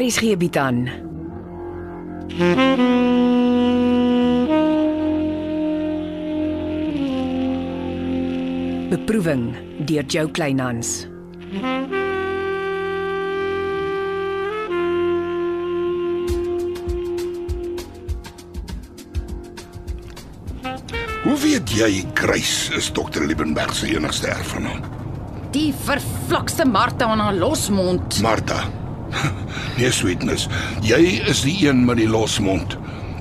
RSG bied aan. Beproeving deur Jo Kleinhans. Hoe weet jy Grace is dokter Liebenberg se enigste erfgenaam? Die vervlakste Martha aan haar losmond. Martha. Nee, sweetness. Jy is die een met die losmond.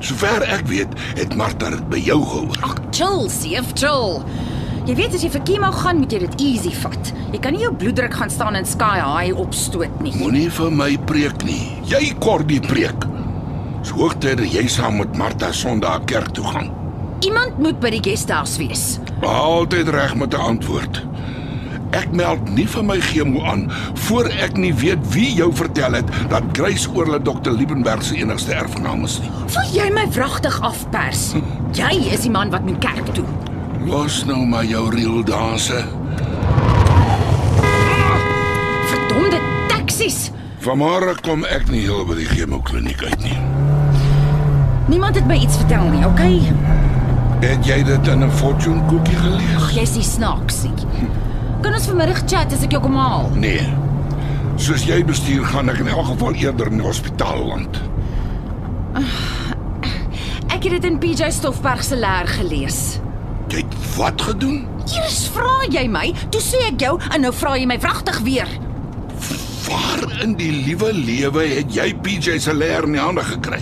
Sover ek weet, het Martha dit by jou gehoor. Chill, seef, chill. Jy weet as jy vir chemo gaan, moet jy dit easy vat. Jy kan nie jou bloeddruk gaan staan en sky high opstoot nie. Moenie vir my preek nie. Jy kort die preek. Dis hoogtyd dat jy saam met Martha Sondag kerk toe gaan. Iemand moet by die guesthouse wees. Altyd reg met 'n antwoord. Ek meld nie vir my chemo aan voor ek nie weet wie jou vertel het dat Grace oorle dokter Liebenberg se enigste erfgenaam is nie. Voel jy my wragtig afpers? Jy is die man wat moet kerk toe. Los nou maar jou reel danse. Verdomde taksies. Vanmôre kom ek nie heel by die chemokliniek uit nie. Niemand het my iets vertel nie, okay? Het jy dit in 'n fortune koekie gelees? Jy's nie snaaks nie. Kan ons vanmiddag chat as ek jou kom haal? Nee. Soos jy bestuur gaan ek in elk geval eerder in die hospitaal land. Ek het dit in PJ Stoffberg se leer gelees. Jy het wat gedoen? Eers vra jy my, toe sê ek jou en nou vra jy my wragtig weer. Waar in die liewe lewe het jy PJ se leer in die hande gekry?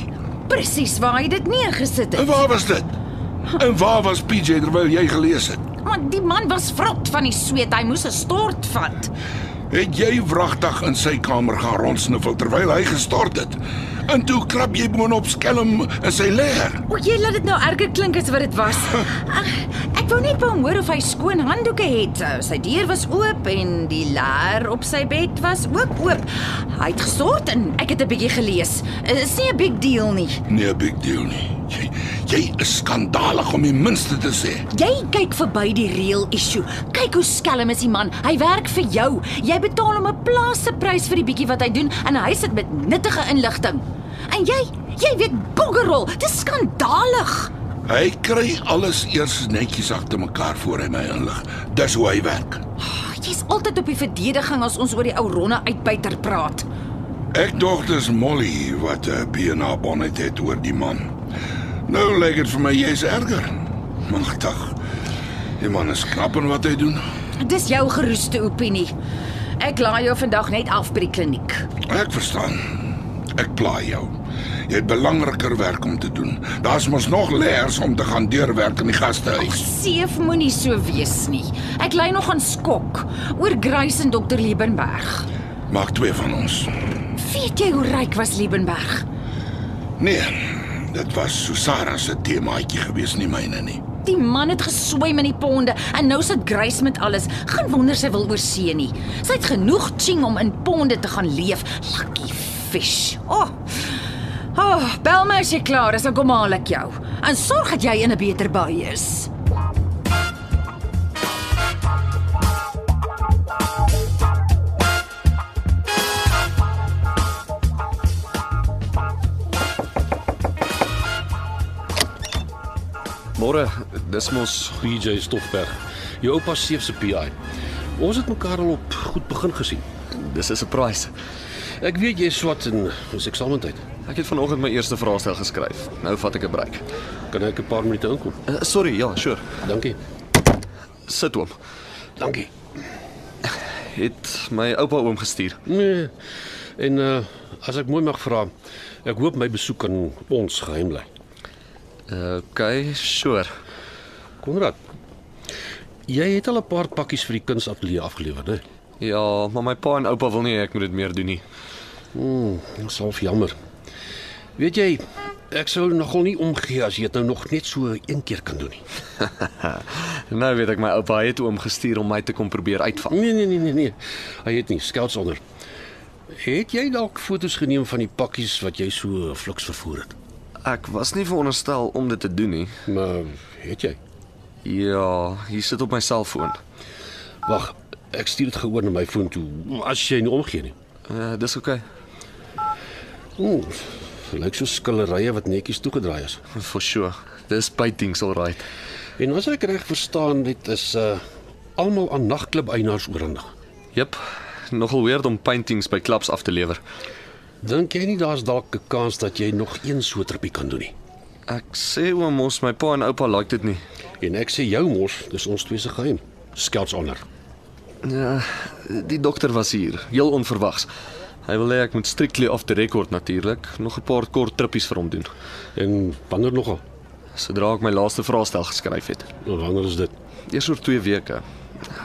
Presies waar hy dit neergesit En het. waar was dit? En waar was PJ terwyl jy gelees het? Want die man was vrot van die sweet, hy moes 'n stort vat. Het jy wragtig in sy kamer gaan rondsniffel terwyl hy gestort het? En toe krap jy boonop skelm in sy leer. O, jy laat dit nou erger klink as wat dit was. Ag, ek wou net by hom hoor of hy skoon handdoeke het. Uh, Sy deur was oop en die leer op sy bed was ook oop. Hy het gestort en ek het 'n bietjie gelees. Uh, Is nie 'n big deal nie. Nee, big deal nie. Jy jy is skandalig om die minste te sê. Jy kyk verby die reël issue. Kyk hoe skelm is die man. Hy werk vir jou. Jy betaal hom 'n plaaseprys vir die bietjie wat hy doen en hy sit met nuttige inligting. En jy, jy weet boggerol, dis skandalig. Hy kry alles eers netjies agter mekaar voor hy my inlig. Dis hoe hy werk. Ag, Jy's altyd op die verdediging as ons oor die ou ronde uitbuiter praat. Ek dink dis Molly wat 'n BNA bonnet het oor die man. Nou lyk dit vir my jy's erger. Magtig. Die man is knap in wat hy doen. Dis jou geroeste opinie. Ek laai jou vandag net af by die kliniek. Ek verstaan. Ek plaai jou. Jy het belangriker werk om te doen. Daar's mos nog leers om te gaan deurwerk in die gastehuis. Seef moenie so wees nie. Ek ly nog aan skok oor Grace en Dr. Liebenberg. Maak twee van ons. Weet jy hoe ryk was Liebenberg? Nee, dit was Susara se temaatjie gewees, nie myne nie. Die man het geswem in die ponde en nou sit Grace met alles. Geen wonder sy wil oorsee nie. Sy het genoeg ching om in ponde te gaan leef. Lucky fish. O. Oh. Oh, bel my as jy klaar is, dan kom haal ek jou. En sorg dat jy in 'n beter by is. Môre, dis mos PJ Stoffberg, jou oupa Seef se PI. Ons het mekaar al op goed begin gesien. dis 'n surprise. Ek weet jy swat in ons eksamentyd. Ek het vanoggend my eerste vraestel geskryf. Nou vat ek 'n break. Kan ek 'n paar minute inkom? Uh, sorry, ja, sure. Dankie. Sit oom. Dankie. Het my oupa oom gestuur. Nee. En uh as ek mooi mag vra, ek hoop my besoek kan ons geheim bly. Uh, okay, sure. Konrad. Jy het al 'n paar pakkies vir die kunsateljee afgelewer, né? Ja, maar my pa en oupa wil nie hê ek moet dit meer doen nie. Dit is half jammer. Weet jy, ek sou nogal nie omgee as jy dit nou nog net so een keer kan doen nie. Nou weet ek my oupa het oom gestuur om my te kom probeer uitvang. Nee nee nee nee nee. Hy het nie skouts onder. Het jy dalk fotos geneem van die pakkies wat jy so fliks vervoer het? Ek was nie veronderstel om dit te doen nie. Maar het jy? Ja, hier sit op my selfoon. Wag, Eh, ek stuur dit gehoor na my foon toe as jy nie omgee nie. Uh, dis okay. Ooh, lyk so skillerye wat netjies toegedraai is. For sure. Dis bytings all right. En as ek reg verstaan, dit is uh almal aan nagklub eienaars oorhandig. Jep. Nogal weird om paintings by klubs af te lewer. Dink jy nie daar's dalk 'n kans dat jy nog een so terpie kan doen nie? Ek sê oom mos my pa en oupa like dit nie. En ek sê jou mos, dis ons twee se geheim. Skelts onder. Ja, die dokter was hier, heel onverwags. Hy wil hê ek moet strictly off the record natuurlik, nog 'n paar kort trippies vir hom doen. En wanneer nogal? Sodra ek my laaste vraestel geskryf het. Wanneer is dit? Eers oor 2 weke.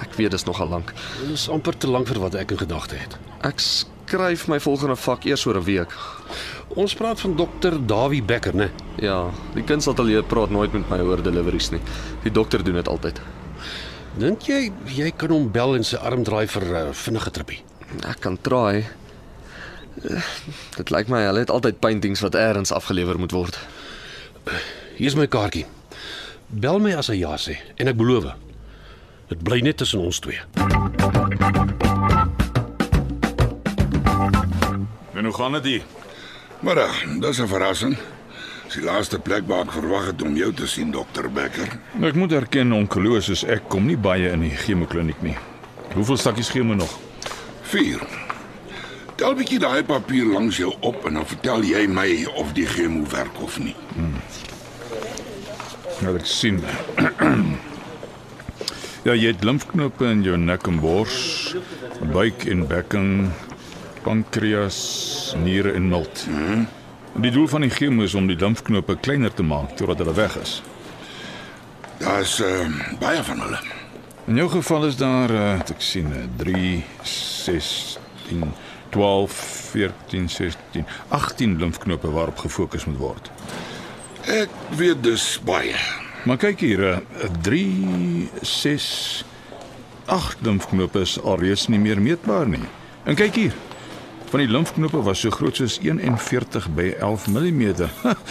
Ek weet dis nogal lank. Dit is amper te lank vir wat ek in gedagte het. Ek skryf my volgende vak eers oor 'n week. Ons praat van dokter Dawie Becker, né? Ja, die kunsateljee praat nooit met my oor deliveries nie. Die dokter doen dit altyd. Dink jy jy kan hom bel en sy arm draai vir 'n uh, vinnige trippie? Ek kan try. Eh, Dit lyk my hulle het altyd paintings wat eers afgelewer moet word. Hier's my kaartjie. Bel my as hy ja sê en ek beloof. Dit bly net tussen ons twee. En hoe gaan dit hier? Middag, ah, dis 'n verrassing. Dis die laaste plek waar ek verwag het om jou te sien, dokter Becker. Ek moet erken onkoloos soos ek kom nie baie in die chemokliniek nie. Hoeveel stukkies chemo nog? 4. Tel bietjie daai papier langs jou op en dan vertel jy my of die chemo werk of nie. Laat ek sien. ja, jy het limfknoppe in jou nek en bors, buik en bekken, pankreas, niere en milt. Die doel van die chemo is om die limfknoppe kleiner te maak totdat hulle weg is. Daar's uh, baie van hulle. In jou geval is daar, eh, wat ek sien, eh, 3, 6, 10, 12, 14, 16, 18 limfknoppe waarop gefokus moet word. Ek weet dus baie. Maar kyk hier, eh, 3 6 8 limfknoppe is alreeds nie meer meetbaar nie. En kyk hier. Van die limfknoppe was so groot soos 41 by 11 mm.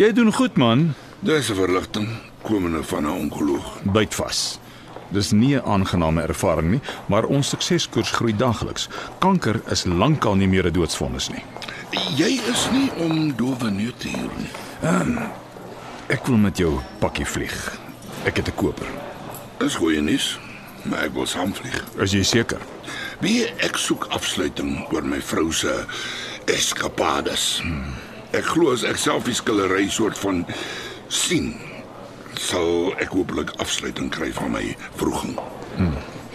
Jy doen goed man. Dis 'n verligting komende van 'n onkoloog. Byt vas. Dis nie 'n aangename ervaring nie, maar ons sukseskoers groei daagliks. Kanker is lankal nie meer 'n doodsvonnis nie. Jy is nie om dowe neus te hier nie. Ek wil met jou pakkie vlieg. Ek het 'n koper. Dis goeie nuus. Maar ek wil saamvlieg. Is jy seker? Wie ek soek afsluiting oor my vrou se eskapades. Ek glo as ek self die skillery soort van sien, sal ek hopelik afsluiting kry van my vroeging.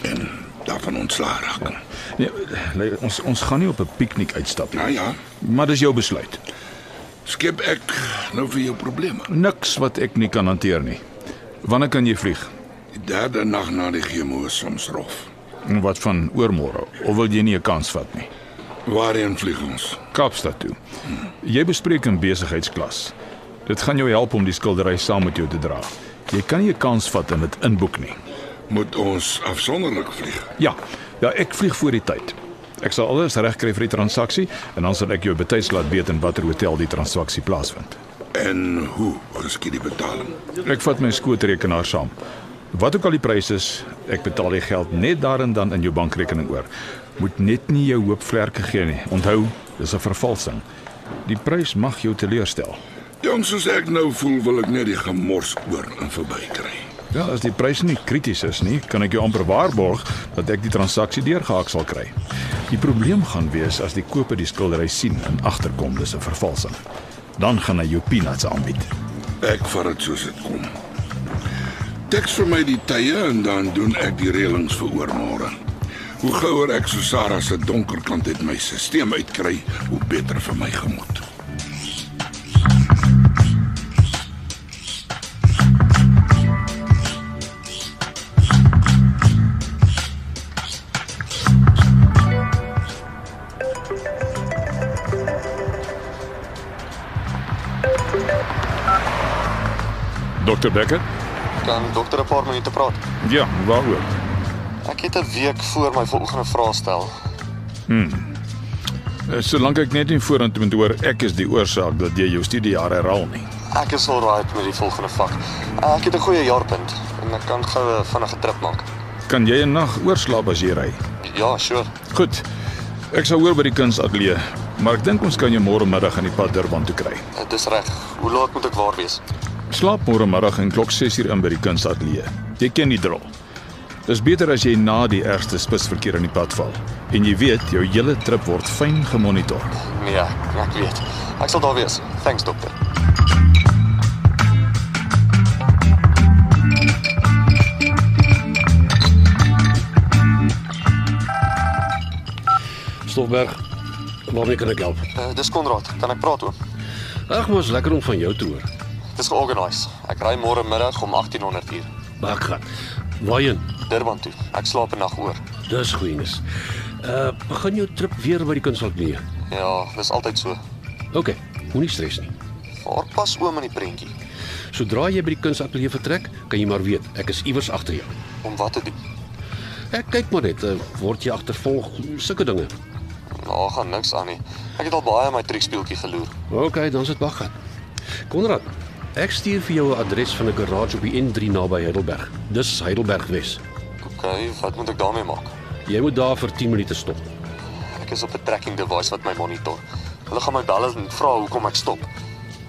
En daarvan ontslaa raak. Nee, nee, ons ons gaan nie op 'n piknik uitstap nie. Nou ja, Maar dis jou besluit. skep ek nou vir jou probleme. Niks wat ek nie kan hanteer nie. Wanneer kan jy vlieg? Die derde nag na die chemo is soms rof. En wat van oormôre? Of wil jy nie 'n kans vat nie? Waarheen vlieg ons? Kaapstad toe. Jy bespreek in besigheidsklas. Dit gaan jou help om die skildery saam met jou te dra. Jy kan nie 'n kans vat en dit inboek nie. Moet ons afsonderlik vlieg? Ja, ja, ek vlieg voor die tyd. Ek sal alles regkry vir die transaksie en dan sal ek jou betyds laat weet in watter hotel die transaksie plaasvind. En hoe geskied die betaling? Ek vat my skootrekenaar saam. Wat ook al die prys is, ek betaal die geld net daar en dan in jou bankrekening oor. Moet net nie jou hoop vlerke gee nie. Onthou, dis 'n vervalsing. Die prys mag jou teleurstel. Jong, soos ek nou voel, wil ek net die gemors oor en verby kry. Ja, as die prys nie krities is nie, kan ek jou amper waarborg dat ek die transaksie deurgehaak sal kry. Die probleem gaan wees as die koper die skildery sien en agterkom dis 'n vervalsing. Dan gaan hy jou peanuts aanbied. Ek vat dit soos dit kom. Teks vir my die tye en dan doen ek die reëlings vir oormôre. Hoe gouer ek so Sarah se donker kant uit my stelsel uitkry, hoe beter vir my gemoed. Dr. Becker? Kan dokter 'n paar minute praat? Ja, waaroor? Ek het 'n week voor my volgende vraestel. Eh, Solank ek net nie vorentoe moet hoor ek is die oorsaak dat jy jou studiejare herhaal nie. Ek is al right met die volgende vak. Ek het 'n goeie jaarpunt en ek kan gou 'n vinnige trip maak. Kan jy 'n nag oorslaap as jy ry? Ja, sure. Goed. Ek sal hoor by die kunsateljee. maar ek dink ons kan jou môre middag aan die pad Durban toe kry. Dit is reg. Hoe laat moet ek waar wees? Slaap môre middag en klok 6uur in by die kunstatelier. Jy ken die drol. Dis beter as jy na die ergste spitsverkeer aan die pad val en jy weet jou hele trip word fyn gemonitor. Nee, ek, ek weet. Ek sal daar wees. Thanks dokter. Stofberg, waarmee kan ek help? Uh, dis Konrad. Kan ek praat oom? Ag, maar is lekker om van jou te hoor. Dis georganiseer. Ek ry môre middag om 1800 uur Maar ek gaan. Waarheen? Durban toe. Ek slaap 'n nag oor. Dis goeienis. Uh, begin jou trip weer by die kunstateljee. Ja, dis altyd so. OK, moenie stres nie. Waar pas oom in die prentjie? Sodra jy by die kunstateljee vertrek, kan jy maar weet ek is iewers agter jou. Om wat te doen? Ek kyk maar net, uh, word jy agtervolg, sulke dinge. Daar gaan niks aan nie. Ek het al baie in my triekspieeltjie geloer. OK, dan sit wag gaan. Konrad, ek stuur vir jou 'n adres van 'n garage op die N3 naby Heidelberg. Dis Heidelberg Wes. OK, wat moet ek daarmee maak? Jy moet daar vir 10 minute stop. Ek is op 'n tracking device wat my monitor. Hulle gaan my bel en vra hoekom ek stop.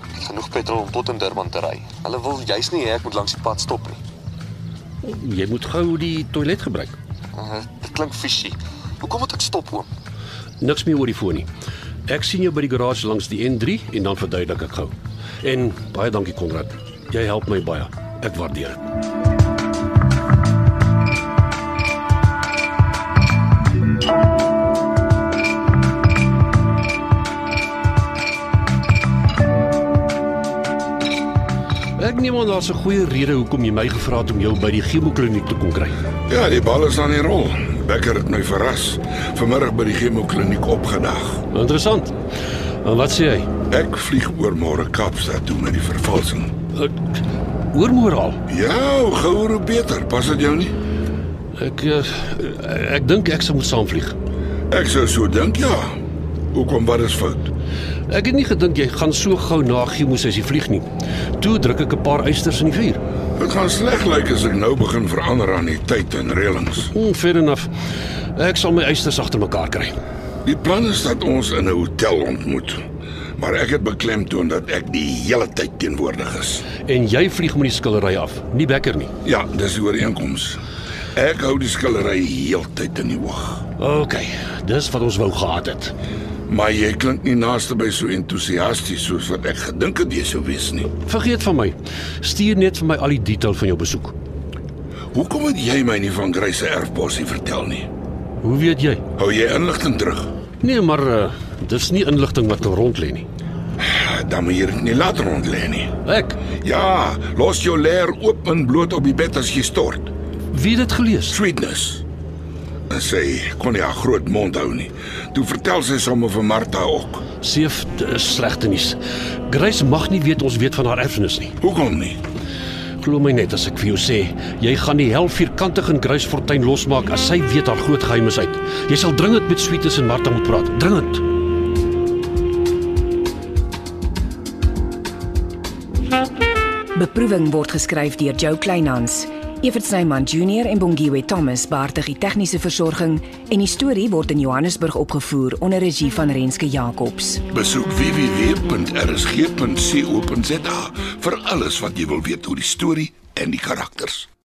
Ek het genoeg petrol om tot in Durban te ry. Hulle wil juis nie hê ek moet langs die pad stop nie. Jy moet gou die toilet gebruik. Uh, dit klink fishy. Hoekom moet ek stop oom? Niks meer oor die foon nie. Ek sien jou by die garage langs die N3 en dan verduidelik ek gou. En baie dankie Konrad. Jy help my baie. Ek waardeer dit. Ek neem aan daar's 'n goeie rede hoekom jy my gevra het om jou by die chemokliniek te kom kry. Ja, die bal is aan die rol. Becker het my verras vanmiddag by die chemokliniek opgedag. Interessant. En wat sê hy? Ek vlieg oor môre Kaapstad toe met die vervalsing. Ek oormoer al. Ja, hoe gouer hoe beter. Pas dit jou nie? Ek eh, ek dink ek sal moet saamvlieg. Ek sou so dink, ja. Hoekom wat is fout? Ek het nie gedink jy gaan so gou na Gimoes as jy vlieg nie. Toe druk ek 'n paar eisters in die vuur. Dit gaan sleg lyk as ek nou begin verander aan die tyd en reëlings. Hmm, fair enough. Ek sal my eisters agter mekaar kry. Die plan is dat ons in 'n hotel ontmoet. Maar ek het beklemtoon dat ek die hele tyd teenwoordig is. En jy vlieg met die skillery af, nie bekker nie. Ja, dis die ooreenkoms. Ek hou die skillery heeltyd in die oog. OK, dis wat ons wou gehad het. Maar jy klink nie naaste by so entoesiasties soos wat ek gedink het jy sou wees nie. Vergeet van my. Stuur net vir my al die detail van jou besoek. Hoekom het jy my nie van Grace se erfposie vertel nie? Hoe weet jy? Hou jy inligting terug? Nee, maar uh, dis nie inligting wat kan rond lê nie. Dan moet jy dit nie laat rond lê nie. Ek Ja, los jou leer oop en bloot op die bed as jy stort. wie het dit gelees? Sweetness. En sy kon nie haar groot mond hou nie. Toe vertel sy sommer vir Martha ook. Seef dit is slegte nuus. Grace mag nie weet ons weet van haar erfenis nie. Hoekom nie? Glo my net as ek vir jou sê, jy gaan die hel vierkantig in Grace Fortuin losmaak as sy weet haar groot geheim is uit. Jy sal dringend met Sweetes en Martha moet praat. Dringend. Beproeving word geskryf deur Jo Kleinhans. Evert Snyman Junior en Bongwe Thomas baartig die tegniese versorging en die storie word in Johannesburg opgevoer onder regie van Renske Jacobs. Besoek www.rsg.co.za vir alles wat jy wil weet oor die storie en die karakters.